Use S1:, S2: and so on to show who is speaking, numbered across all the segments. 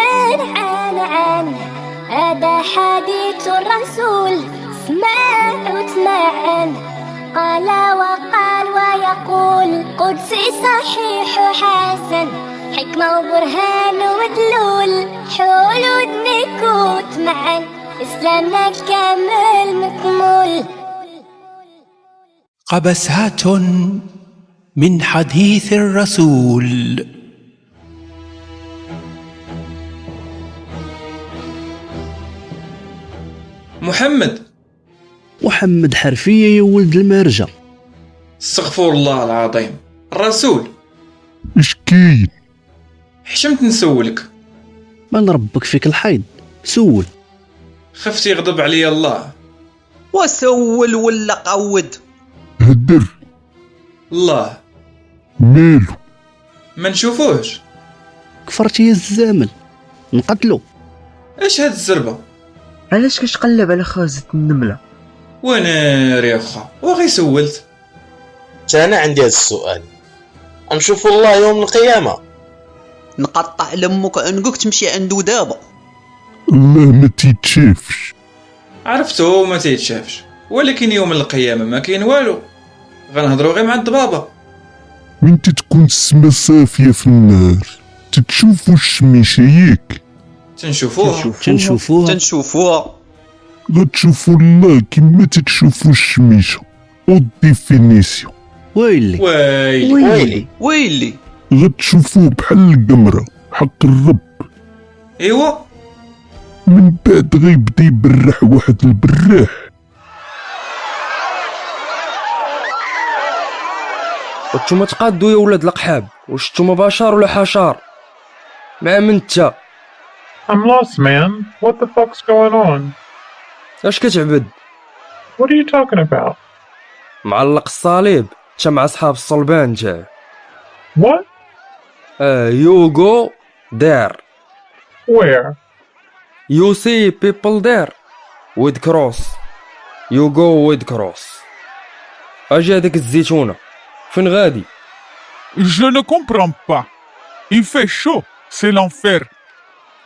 S1: الآن عن هذا حديث الرسول اسمع واسمع قال وقال ويقول قدسي صحيح حسن حكمة وبرهان ومدلول حول ودنك وتمعن إسلامنا كامل مكمول
S2: قبسات من حديث الرسول
S3: محمد
S4: محمد حرفية يا ولد المارجة
S3: استغفر الله العظيم الرسول
S5: اشكي
S3: حشمت نسولك
S4: ما نربك فيك الحيض سول
S3: خفت يغضب علي الله
S6: وسول ولا قود
S5: هدر
S3: الله
S5: مالو
S3: ما نشوفوش
S4: كفرت يا الزامل نقتلو
S3: اش هاد الزربه
S7: علاش كتقلب على خازة النملة
S3: وانا ريخا وغي سولت
S8: تا انا عندي هذا السؤال نشوف الله يوم القيامه
S6: نقطع لمك عنقك تمشي عندو دابا
S5: الله ما تيتشافش
S3: عرفتو ما تيتشافش ولكن يوم القيامه ما كاين والو غنهضروا غير مع الضبابه
S5: من تتكون السما صافية في النهار تتشوفو الشميشة ياك
S3: تنشوفوها
S4: تنشوفوها
S6: تنشوفوها
S5: غتشوفو الله كما تتشوفو الشميشة او ديفينيسيون
S4: ويلي
S3: ويلي
S8: ويلي
S6: ويلي
S5: غتشوفوه بحال القمرة حق الرب
S3: ايوا
S5: من بعد غيبدا يبرح واحد البراح
S9: وانتوما تقادوا يا ولاد القحاب واش نتوما بشر ولا حشر مع من انت
S10: I'm lost, man. What the fuck's going on?
S9: اش كتعبد
S10: What are you talking about?
S9: معلق الصليب انت مع اصحاب الصلبان جا
S10: What?
S9: آه يوغو دار
S10: Where?
S9: يو سي بيبل دير ويد كروس يو جو ويد كروس اجي هذيك الزيتونه فين غادي
S5: Je ne comprends pas. Il fait chaud. C'est l'enfer.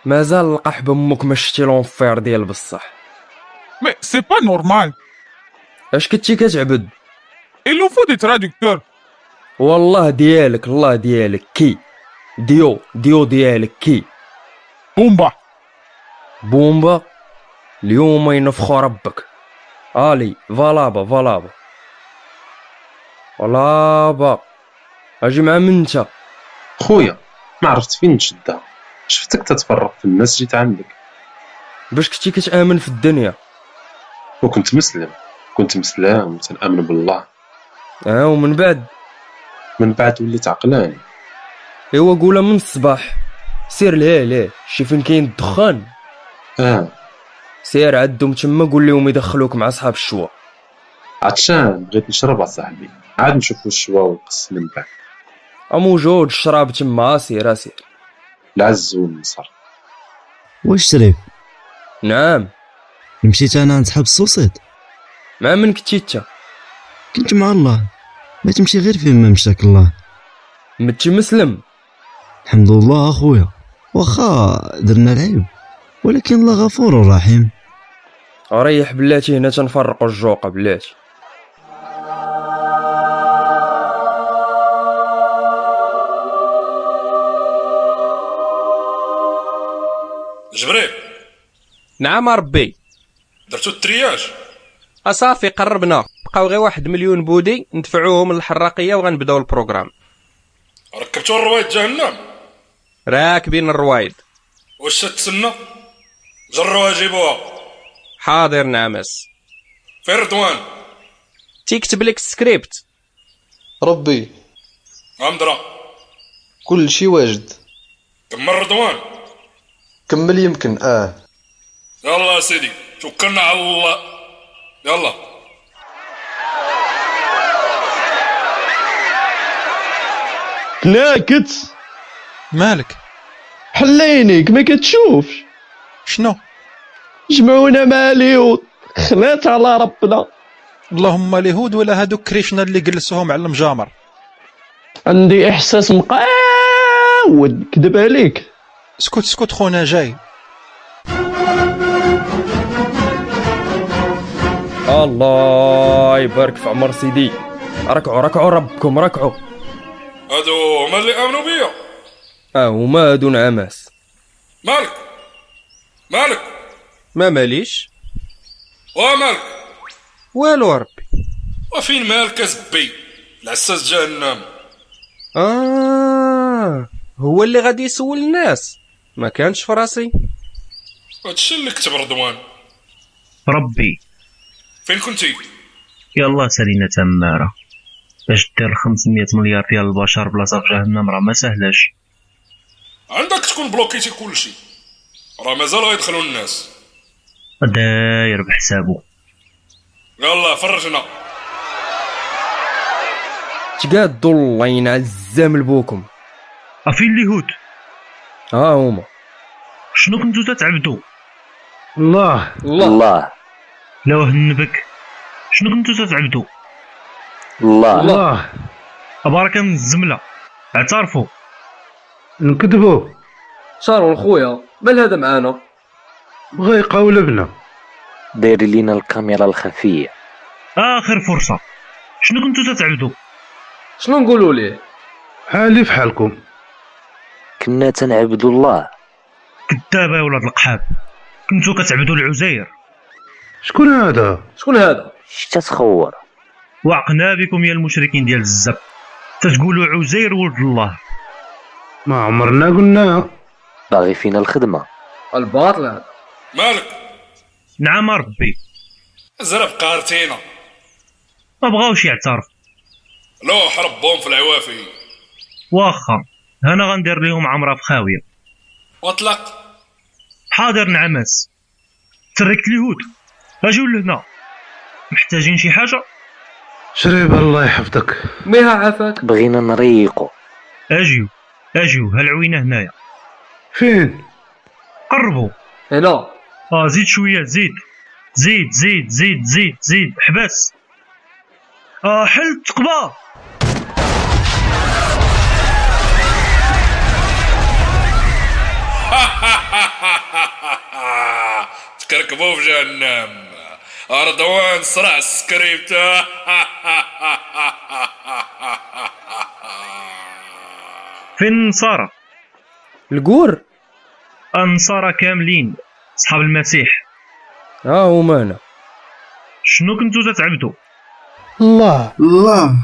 S9: مازال القح بامك ما شتي لونفير ديال بصح
S5: Mais c'est pas normal.
S9: اش كنتي كتعبد
S5: Il nous faut des traducteurs.
S9: والله ديالك الله ديالك كي ديو ديو ديالك كي
S5: Bomba.
S9: بومبا اليوم ينفخو ربك الي فالابا فالابا فالابا اجي مع من انت
S11: خويا ما عرفت فين نشدها شفتك تتفرق في الناس جيت عندك
S9: باش كنتي كتامن في الدنيا
S11: وكنت مسلم كنت مسلم تنامن بالله
S9: ها آه، ومن بعد
S11: من بعد وليت عقلاني
S9: ايوا قولها من الصباح سير لهيه ليه شي فين كاين الدخان
S11: اه
S9: سير عندهم تما قول لهم يدخلوك مع صحاب الشوا
S11: عطشان بغيت نشرب صاحبي عاد نشوفو الشوا والقص من بعد
S9: اموجود الشراب تما سير آه سير
S11: العز والنصر
S4: واش سري
S9: نعم
S4: مشيت انا نسحب السوسيط
S9: مع من كنتي انت
S4: كنت مع الله ما تمشي غير فين ما مشاك الله
S9: متي مسلم
S4: الحمد لله اخويا واخا درنا العيب ولكن الله غفور رحيم
S9: ريح بلاتي هنا تنفرقوا الجوقه بلاتي
S11: جبريل
S9: نعم ربي
S11: درتو الترياج
S9: اصافي قربنا بقاو غير واحد مليون بودي ندفعوهم للحراقيه وغنبداو البروغرام
S11: ركبتو الرواية جهنم
S9: راكبين الروايد
S11: واش تتسنى جروها جيبوها
S9: حاضر نعمس
S11: فين رضوان
S9: تيكتب لك السكريبت
S8: ربي
S11: نعم غامضرة
S8: كل شي واجد
S11: كمل رضوان
S8: كمل يمكن اه
S11: يلا سيدي توكلنا على الله يلا
S7: تلاكت
S3: مالك
S7: حلينيك ما كتشوفش
S3: شنو
S7: جمعونا ماليوت خلات على ربنا
S3: اللهم اليهود ولا هادوك كريشنا اللي جلسوهم على المجامر
S7: عندي احساس مقاود كذب عليك
S12: اسكت اسكت خونا جاي
S9: الله يبارك في عمر سيدي ركعوا ركعوا ربكم ركعوا
S11: هادو هما اللي امنوا بيا
S9: اه وما هادو نعماس
S11: مالك مالك
S3: ما ماليش
S11: ومالك
S3: والو ربي
S11: وفين مالك زبي العساس جهنم
S3: اه
S9: آه،
S3: هو اللي غادي يسول الناس ما كانش في راسي
S11: هادشي اللي كتب رضوان
S10: ربي
S11: فين كنتي
S10: يلا سالينا تمارة باش دير 500 مليار ديال البشر بلاصه في جهنم راه ما سهلاش
S11: عندك تكون بلوكيتي كلشي راه مازال غيدخلوا الناس
S10: داير بحسابه
S11: يلا فرجنا
S9: تقادوا الله ينعزام لبوكم
S10: افين اليهود
S9: ها هما
S10: شنو كنتو تتعبدوا
S3: الله الله الله
S10: لا وهنبك شنو كنتو تتعبدوا
S3: الله الله
S10: بركه من الزمله اعترفوا
S3: نكذبوا شارون خويا مال هذا معانا بغا يقاول بنا
S13: داير لينا الكاميرا الخفيه
S10: اخر فرصه شنو كنتو تتعبدوا
S3: شنو نقولوا ليه حالي في حالكم
S13: كنا تنعبدوا الله
S10: كذابه يا ولاد القحاب كنتو كتعبدوا العزير
S3: شكون هذا شكون هذا
S13: شتا تخور
S10: وعقنا بكم يا المشركين ديال الزب تتقولوا عزير ولد الله
S3: ما عمرنا قلنا
S13: باغي فينا الخدمه
S3: الباطل هذا
S11: مالك
S10: نعم ربي
S11: زرب قارتينا
S10: ما بغاوش يعترف
S11: لوح ربهم في العوافي
S10: واخا انا غندير لهم عمره في خاويه
S11: واطلق
S10: حاضر نعماس تركت اليهود اجيو لهنا محتاجين شي حاجه
S3: شريب الله يحفظك ميها عافاك
S13: بغينا نريقو
S10: اجيو اجيو هالعوينه هنايا
S3: فين
S10: قربوا
S3: هنا
S10: اه زيد شويه زيد زيد زيد زيد زيد زيد حبس آه حل التقبه
S11: تكركبوا في جهنم رضوان صرع السكريبت
S10: فين النصارى
S9: القور
S10: النصارى كاملين صحاب المسيح
S9: ها هما هنا
S10: شنو كنتو تتعبدوا
S3: الله الله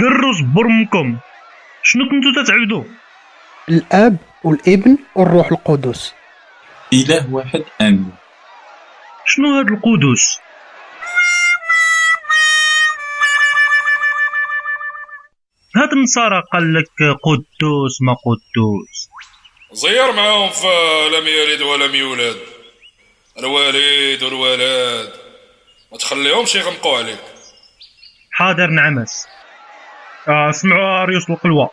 S10: قروا برمكم شنو كنتو تتعبدوا
S3: الاب والابن والروح القدس
S14: إله واحد آمين
S10: شنو هاد القدس هاد النصارى قال لك قدوس ما قدوس
S11: زير معاهم في لم يلد ولم يولد الوالد والولاد ما تخليهمش يغمقوا عليك
S10: حاضر نعمس آه سمعوا اريوس القلوة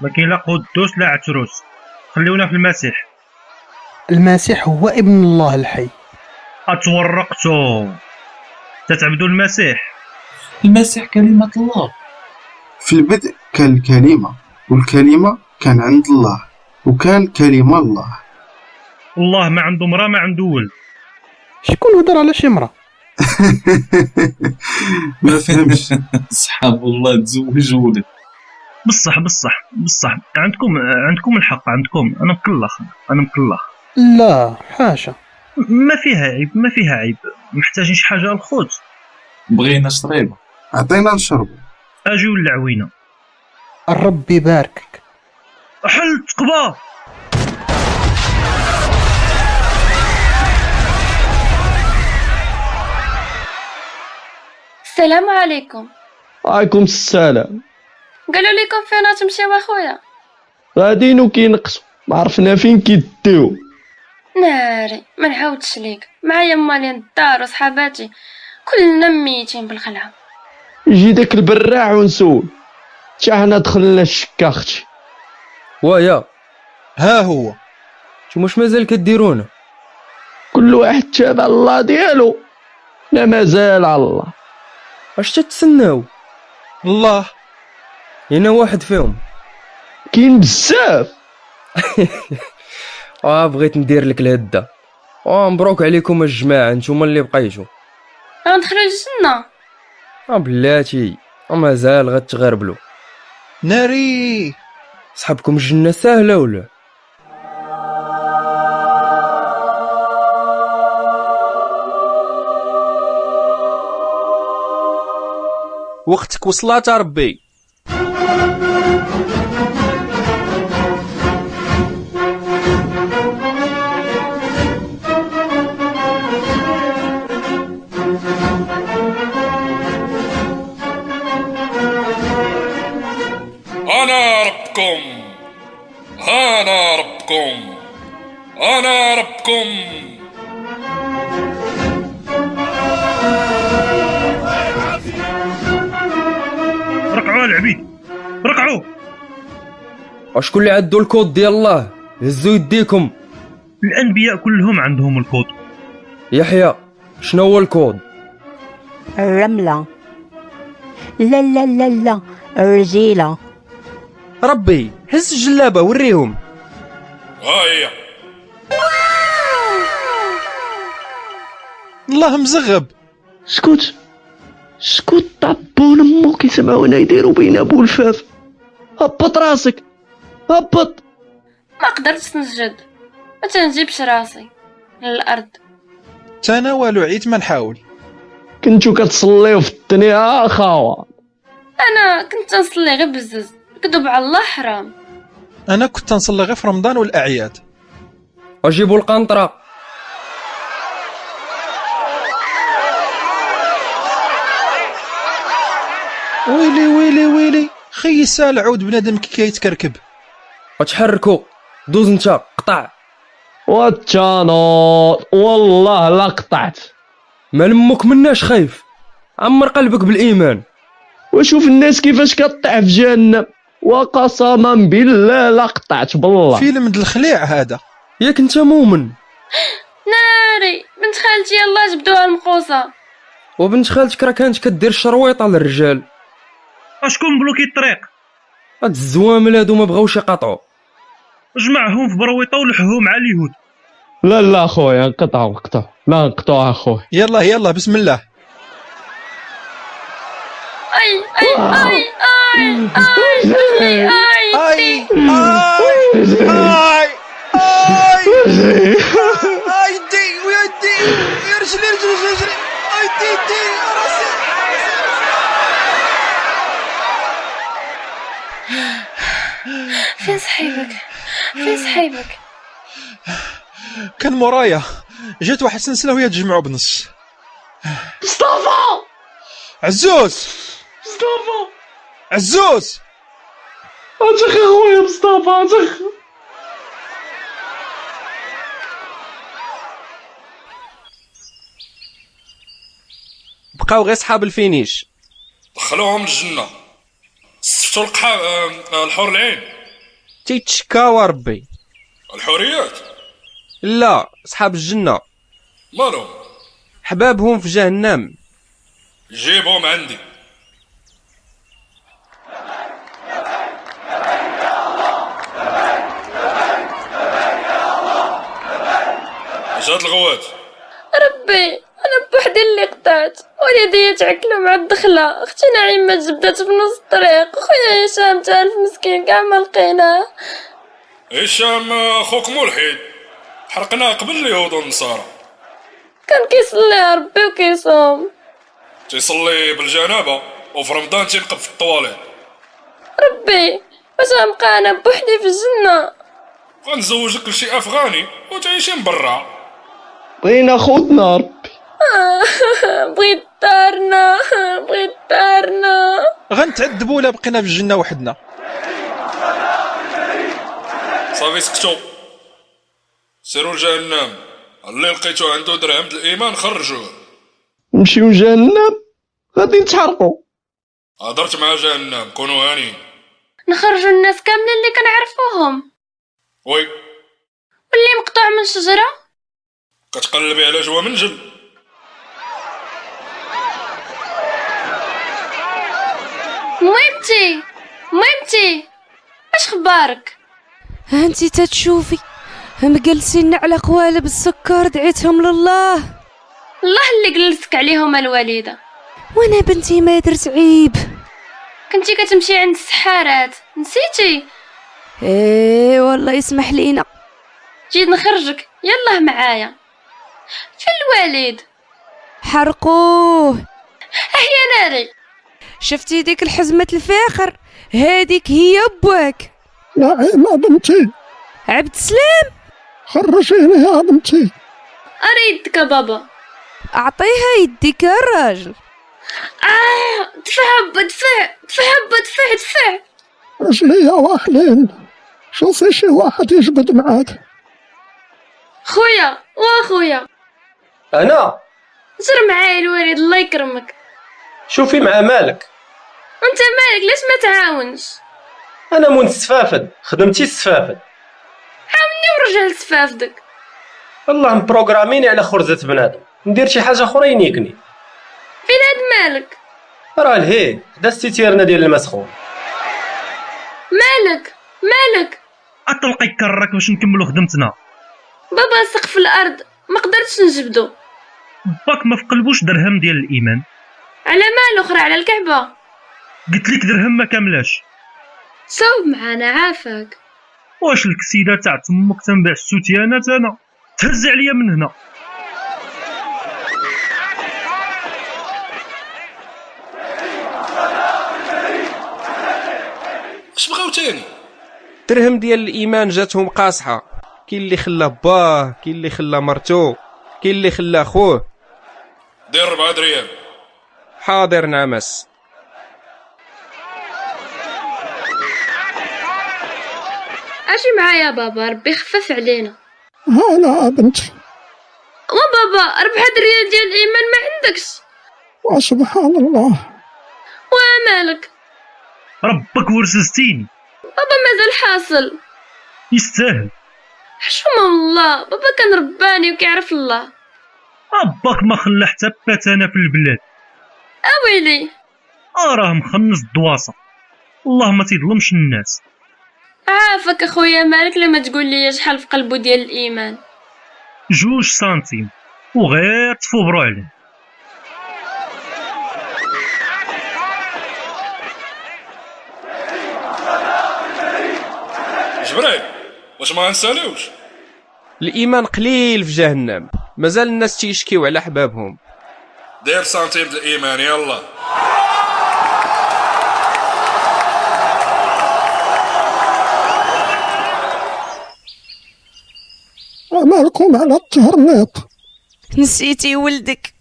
S10: ما كاين لا قدوس لا عتروس خليونا في المسيح
S3: المسيح هو ابن الله الحي
S10: اتورقتو تتعبدوا المسيح
S14: المسيح كلمة الله
S15: في البدء كان الكلمة والكلمة كان عند الله وكان كلمة الله
S10: الله ما عنده مرا ما عنده ولد
S3: شكون هضر على شي مرا
S14: ما فهمش صحاب الله تزوج ولد
S10: بصح بصح بصح عندكم عندكم الحق عندكم انا مكلخ انا مكلخ
S3: لا حاشا
S10: ما فيها عيب ما فيها عيب محتاجين شي حاجه الخوت
S14: بغينا شريبه
S15: عطينا نشرب
S10: اجيو للعوينه
S3: الرب يباركك
S10: حل التقبه
S16: السلام عليكم
S17: عليكم السلام
S16: قالوا لكم فين تمشيو اخويا
S17: غاديين وكينقصوا ما عرفنا فين كيديو
S16: ناري ما نعاودش ليك معايا مالين الدار وصحاباتي كلنا ميتين بالخلعه
S17: يجي داك البراع ونسول تا حنا دخلنا الشكا اختي
S9: ويا
S12: ها هو
S9: نتوما واش مازال كديرونا
S17: كل واحد تابع الله ديالو لا مازال على الله
S9: اش تتسناو
S12: الله
S9: هنا واحد فيهم
S17: كاين بزاف
S9: اه بغيت ندير لك الهده اه مبروك عليكم الجماعه نتوما اللي بقيتو
S16: غندخلو الجنة
S9: اه بلاتي مازال غتغربلو ناري صحابكم الجنه ساهله ولا
S3: وقتك وصلات ربي
S11: أنا ربكم أنا ربكم أنا ربكم
S10: رقعوا العبيد رقعوا
S9: وشكون اللي عندو الكود ديال الله هزو يديكم
S10: الأنبياء كلهم عندهم الكود
S9: يحيى شنو هو الكود
S18: الرملة لا لا لا لا الرجيلة
S3: ربي هز الجلابه وريهم
S11: ها هي
S12: الله مزغب
S17: سكوت سكوت طبون امو كيسمعونا يديروا بين ابو الفاف هبط راسك هبط
S16: ما قدرتش نسجد ما تنجيبش راسي للأرض
S12: تناولوا عيت ما نحاول
S17: كنتو كتصليو في الدنيا آه، اخاوه
S16: أنا كنت نصلي غير بزز كذب على الله حرام
S12: انا كنت نصلي غير في رمضان والاعياد
S9: اجيبوا القنطره
S12: ويلي ويلي ويلي خي سال عود بنادم كي كيتكركب
S9: وتحركوا دوز انت قطع
S17: واتشانوط والله لا قطعت
S9: ما لمك مناش خايف عمر قلبك بالايمان
S17: وشوف الناس كيفاش كطيح في جهنم وقسما بالله لا قطعت بالله
S12: فيلم د الخليع هذا
S9: ياك انت مؤمن
S16: ناري بنت خالتي يلا جبدوها المقوصة
S9: وبنت خالتك راه كانت كدير شرويطه للرجال
S10: شكون بلوكي الطريق
S9: هاد الزوامل هادو ما بغاوش يقاطعوا
S10: جمعهم في برويطة ولحهم على اليهود
S17: لا لا خويا انقطع وقتها لا انقطع اخويا
S12: يلا يلا بسم الله
S16: أي أي أي أي أي أي
S12: اي اي اي دي ويا دي يا رجلي رجلي رجلي اي دي دي يا راسي
S16: فين صحيبك فين صحيبك
S12: كان مورايا جات واحد السلسله وهي تجمعوا بنص
S17: مصطفى
S12: عزوز
S17: مصطفى
S12: عزوز
S17: اجخ اخويا مصطفى اجخ
S3: بقاو غير صحاب الفينيش
S11: دخلوهم الجنة سفتوا القحا آه، الحور العين
S3: تيتشكاوا ربي
S11: الحوريات
S3: لا صحاب الجنه
S11: مالهم
S3: حبابهم في جهنم
S11: جيبهم عندي اش هاد الغوات
S16: ربي أنا بوحدي اللي قطعت وليدي تعكلوا مع الدخلة أختي نعيمة جبدت في نص الطريق خويا هشام تعرف مسكين كاع ما لقيناه
S11: هشام آه، خوك ملحد حرقناه قبل اليهود والنصارى
S16: كان كيصلي على ربي وكيصوم
S11: تيصلي بالجنابة وفي رمضان تينقب في الطواليت
S16: ربي باش غنبقى أنا بوحدي في الجنة
S11: غنزوجك لشي افغاني وتعيشين برا
S17: بغينا خوتنا ربي
S16: آه، بغيت دارنا بغيت دارنا
S12: غنتعذبوا الا بقينا في الجنه وحدنا
S11: صافي سكتو سيروا لجهنم اللي لقيتو عنده درهم د الايمان خرجوه
S17: نمشيو جهنم غادي نتحرقوا
S11: هضرت مع جهنم كونوا هانيين
S16: نخرجوا الناس كاملين اللي كنعرفوهم
S11: وي
S16: واللي مقطوع من شجرة
S11: كتقلبي على جوا منجل
S16: ميمتي ميمتي اش خبارك
S19: هانتي تتشوفي مجلسين على قوالب السكر دعيتهم لله
S16: الله اللي جلسك عليهم الوالدة
S19: وانا بنتي ما درت عيب
S16: كنتي كتمشي عند السحارات نسيتي
S19: ايه والله يسمح لينا
S16: جيت نخرجك يلاه معايا في الوالد
S19: حرقوه
S16: احيا ناري
S19: شفتي ديك الحزمة الفاخر هاديك هي بواك
S20: يا عين عظمتي
S19: عبد السلام
S20: خرجيني يا عظمتي
S16: اري يدك يا بابا
S19: اعطيها يديك يا الراجل
S16: آه دفع هبة دفع دفع هبة دفع دفع
S20: رجلي واحلين شوفي شي واحد يجبد معاك
S16: خويا واخويا
S9: انا
S16: سر معايا الوالد الله يكرمك
S9: شوفي مع مالك
S16: انت مالك ليش ما تعاونش
S9: انا منسفافد خدمتي السفافد
S16: عاوني ورجع لسفافدك
S9: الله مبروغراميني على خرزة بنادم ندير شي حاجة أخرى ينيكني
S16: فين هاد مالك
S9: راه الهي حدا الستيرنا ديال المسخون
S16: مالك مالك
S10: اطلقي كرك باش نكملو خدمتنا
S16: بابا سقف الارض ما قدرتش نجبدو
S10: باك ما في قلبوش درهم ديال الايمان
S16: على مال اخرى على الكعبه
S10: قلت لك درهم ما كاملاش
S16: صوب معانا عافاك
S10: واش الكسيده تاع تمك تنباع السوتيانات انا تهز عليا من هنا
S11: اش بغاو تاني
S3: درهم ديال الايمان جاتهم قاصحه كاين اللي خلى باه كاين اللي خلى مرتو كاين اللي خلى خوه
S11: دير 4 دريال
S3: حاضر نعمس
S16: اجي معايا بابا ربي يخفف علينا
S20: هلا بنتي
S16: وبابا ربح دريال ديال الايمان ما عندكش
S20: وسبحان الله
S16: ومالك
S10: ربك ورسستيني
S16: بابا مازال حاصل
S10: يستاهل
S16: حشومة الله بابا كان رباني وكيعرف الله
S10: باك ما خلى حتى بات انا في البلاد
S16: اويلي
S10: اراه مخنص الدواسه الله ما تيظلمش الناس
S16: عافاك اخويا مالك لما تقول لي شحال في قلبه ديال الايمان
S10: جوج سنتيم وغير تفوبرو عليه
S11: جبريل واش ما غنساليوش
S3: الايمان قليل في جهنم مازال الناس تيشكيو على احبابهم
S11: دير سنتيم د الايمان يلا
S20: مالكم على التهرنيط
S19: نسيتي ولدك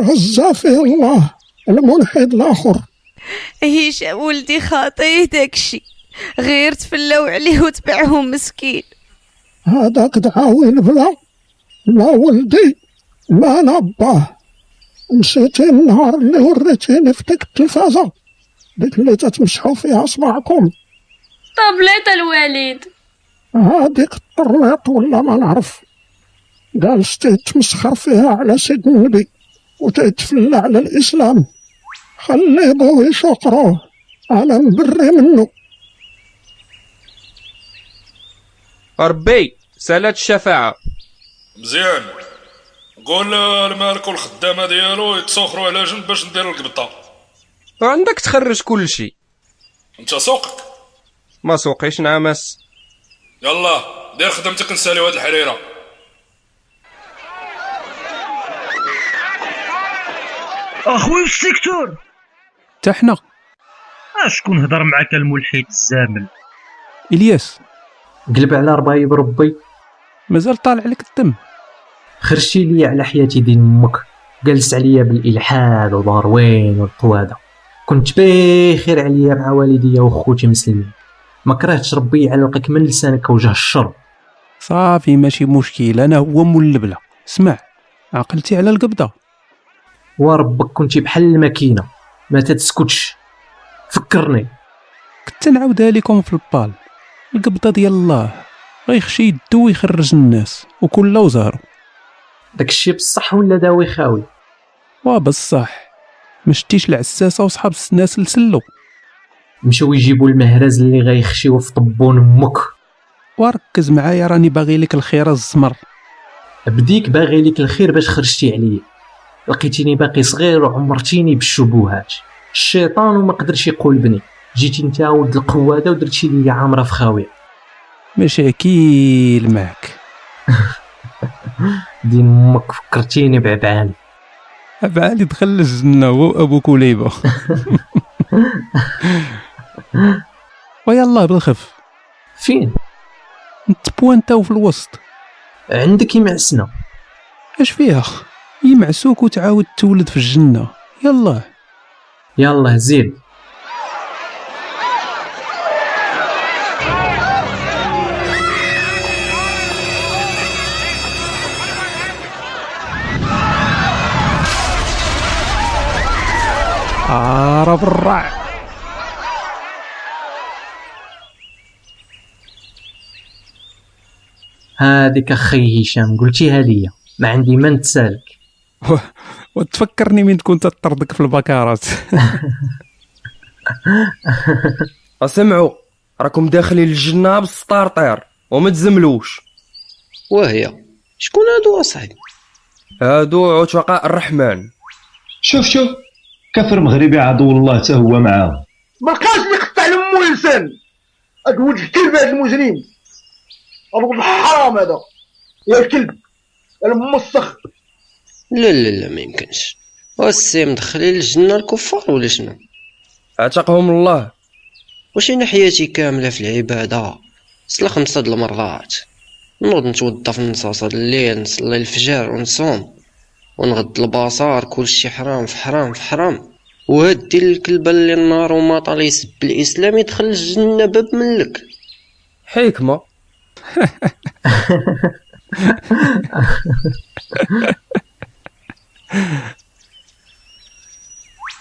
S20: غزا فيه الله الملحد الاخر
S19: هشام ولدي خاطيه داكشي غير تفلاو عليه وتبعهم مسكين
S20: هذاك دعاوين بلا لا ولدي لا لا باه نسيتي النهار اللي وريتيني في ديك التلفازة ديك اللي تتمسحوا فيها صباعكم
S16: طابليت الوالد
S20: هاديك الطريط ولا ما نعرف جالس تيتمسخر فيها على سيد النبي وتيتفلى على الإسلام خلي بوه يشكروه أنا مبري منه
S3: ربي سالات الشفاعه
S11: مزيان قول لمالك والخدامه ديالو يتسخروا على جنب باش ندير القبطه
S3: عندك تخرج كل شيء
S11: انت سوقك
S3: ما سوقيش نعمس
S11: يلا دير خدمتك نساليو هاد الحريره
S10: اخوي في السيكتور
S21: تحنا
S10: اشكون هضر معاك الملحد الزامل
S21: الياس
S2: قلب على ربايب ربي
S21: مازال طالع لك الدم
S2: خرجتي لي على حياتي دين امك جلست عليا بالالحاد وداروين والقواده كنت بخير عليا مع والدي وخوتي مسلمين ما كرهتش ربي يعلقك من لسانك وجه الشر
S21: صافي ماشي مشكل انا هو مول البله اسمع عقلتي على القبضه
S2: وربك كنتي بحال الماكينه ما تتسكتش فكرني
S21: كنت نعاودها لكم في البال القبضه ديال الله غيخشي يدو ويخرج الناس وكل وزارو
S2: داكشي بصح ولا داوي خاوي
S21: وبصح ما شتيش العساسه وصحاب السناسل سلو
S2: مشاو يجيبوا المهرز اللي غيخشيو في طبون امك وركز معايا راني باغي لك الخير الزمر
S22: بديك باغي ليك الخير باش خرجتي عليا لقيتيني باقي صغير وعمرتيني بالشبهات الشيطان وما قدرش يقلبني جيتي نتا ولد القواده ودرتي ليا عامره في خاويه
S2: مشاكيل معك
S22: دين امك فكرتيني بعبعالي
S2: عبالي دخل الجنه هو ابو كليبه ويلا بالخف
S22: فين
S2: نتبوانتاو في الوسط
S22: عندك يمعسنا
S2: اش فيها يمعسوك وتعاود تولد في الجنه يلا
S22: يلا زيد
S2: عرب الرع
S22: هذيك اخي هشام قلتيها ليا ما عندي ما نتسالك
S2: و- وتفكرني من كنت طردك في البكارات
S9: اسمعوا راكم داخلين الجنه بالسطارطير وما تزملوش
S4: وهي شكون هادو اصاحبي
S9: هادو عتقاء الرحمن
S6: شوف شوف كفر مغربي عدو الله حتى هو معاه
S12: ما بقاش نقطع لمو لسان هاد ولد الكلب هاد المجرم هاد ولد الحرام هذا يا الكلب يا المسخ
S4: لا لا لا ما يمكنش واسي مدخلين للجنه الكفار ولا شنو
S9: عتقهم الله
S4: واش انا حياتي كامله في العباده صلى خمسه د المرات نوض نتوضا في نصاص هاد الليل نصلي الفجر ونصوم ونغض البصر كلشي حرام في حرام في حرام وهاد ديال الكلبه اللي النار وما طال يسب الاسلام يدخل الجنه باب ملك
S9: حكمه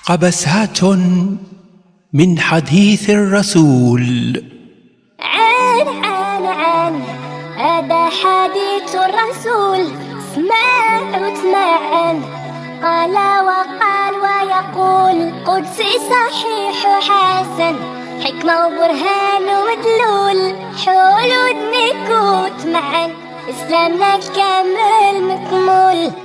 S2: قبسات من حديث الرسول
S1: عان عان عان هذا حديث الرسول اسمع واسمع عن قال وقال ويقول قدسي صحيح حسن حكمة وبرهان ومدلول حول ودنك وتمعن إسلامنا كامل مكمول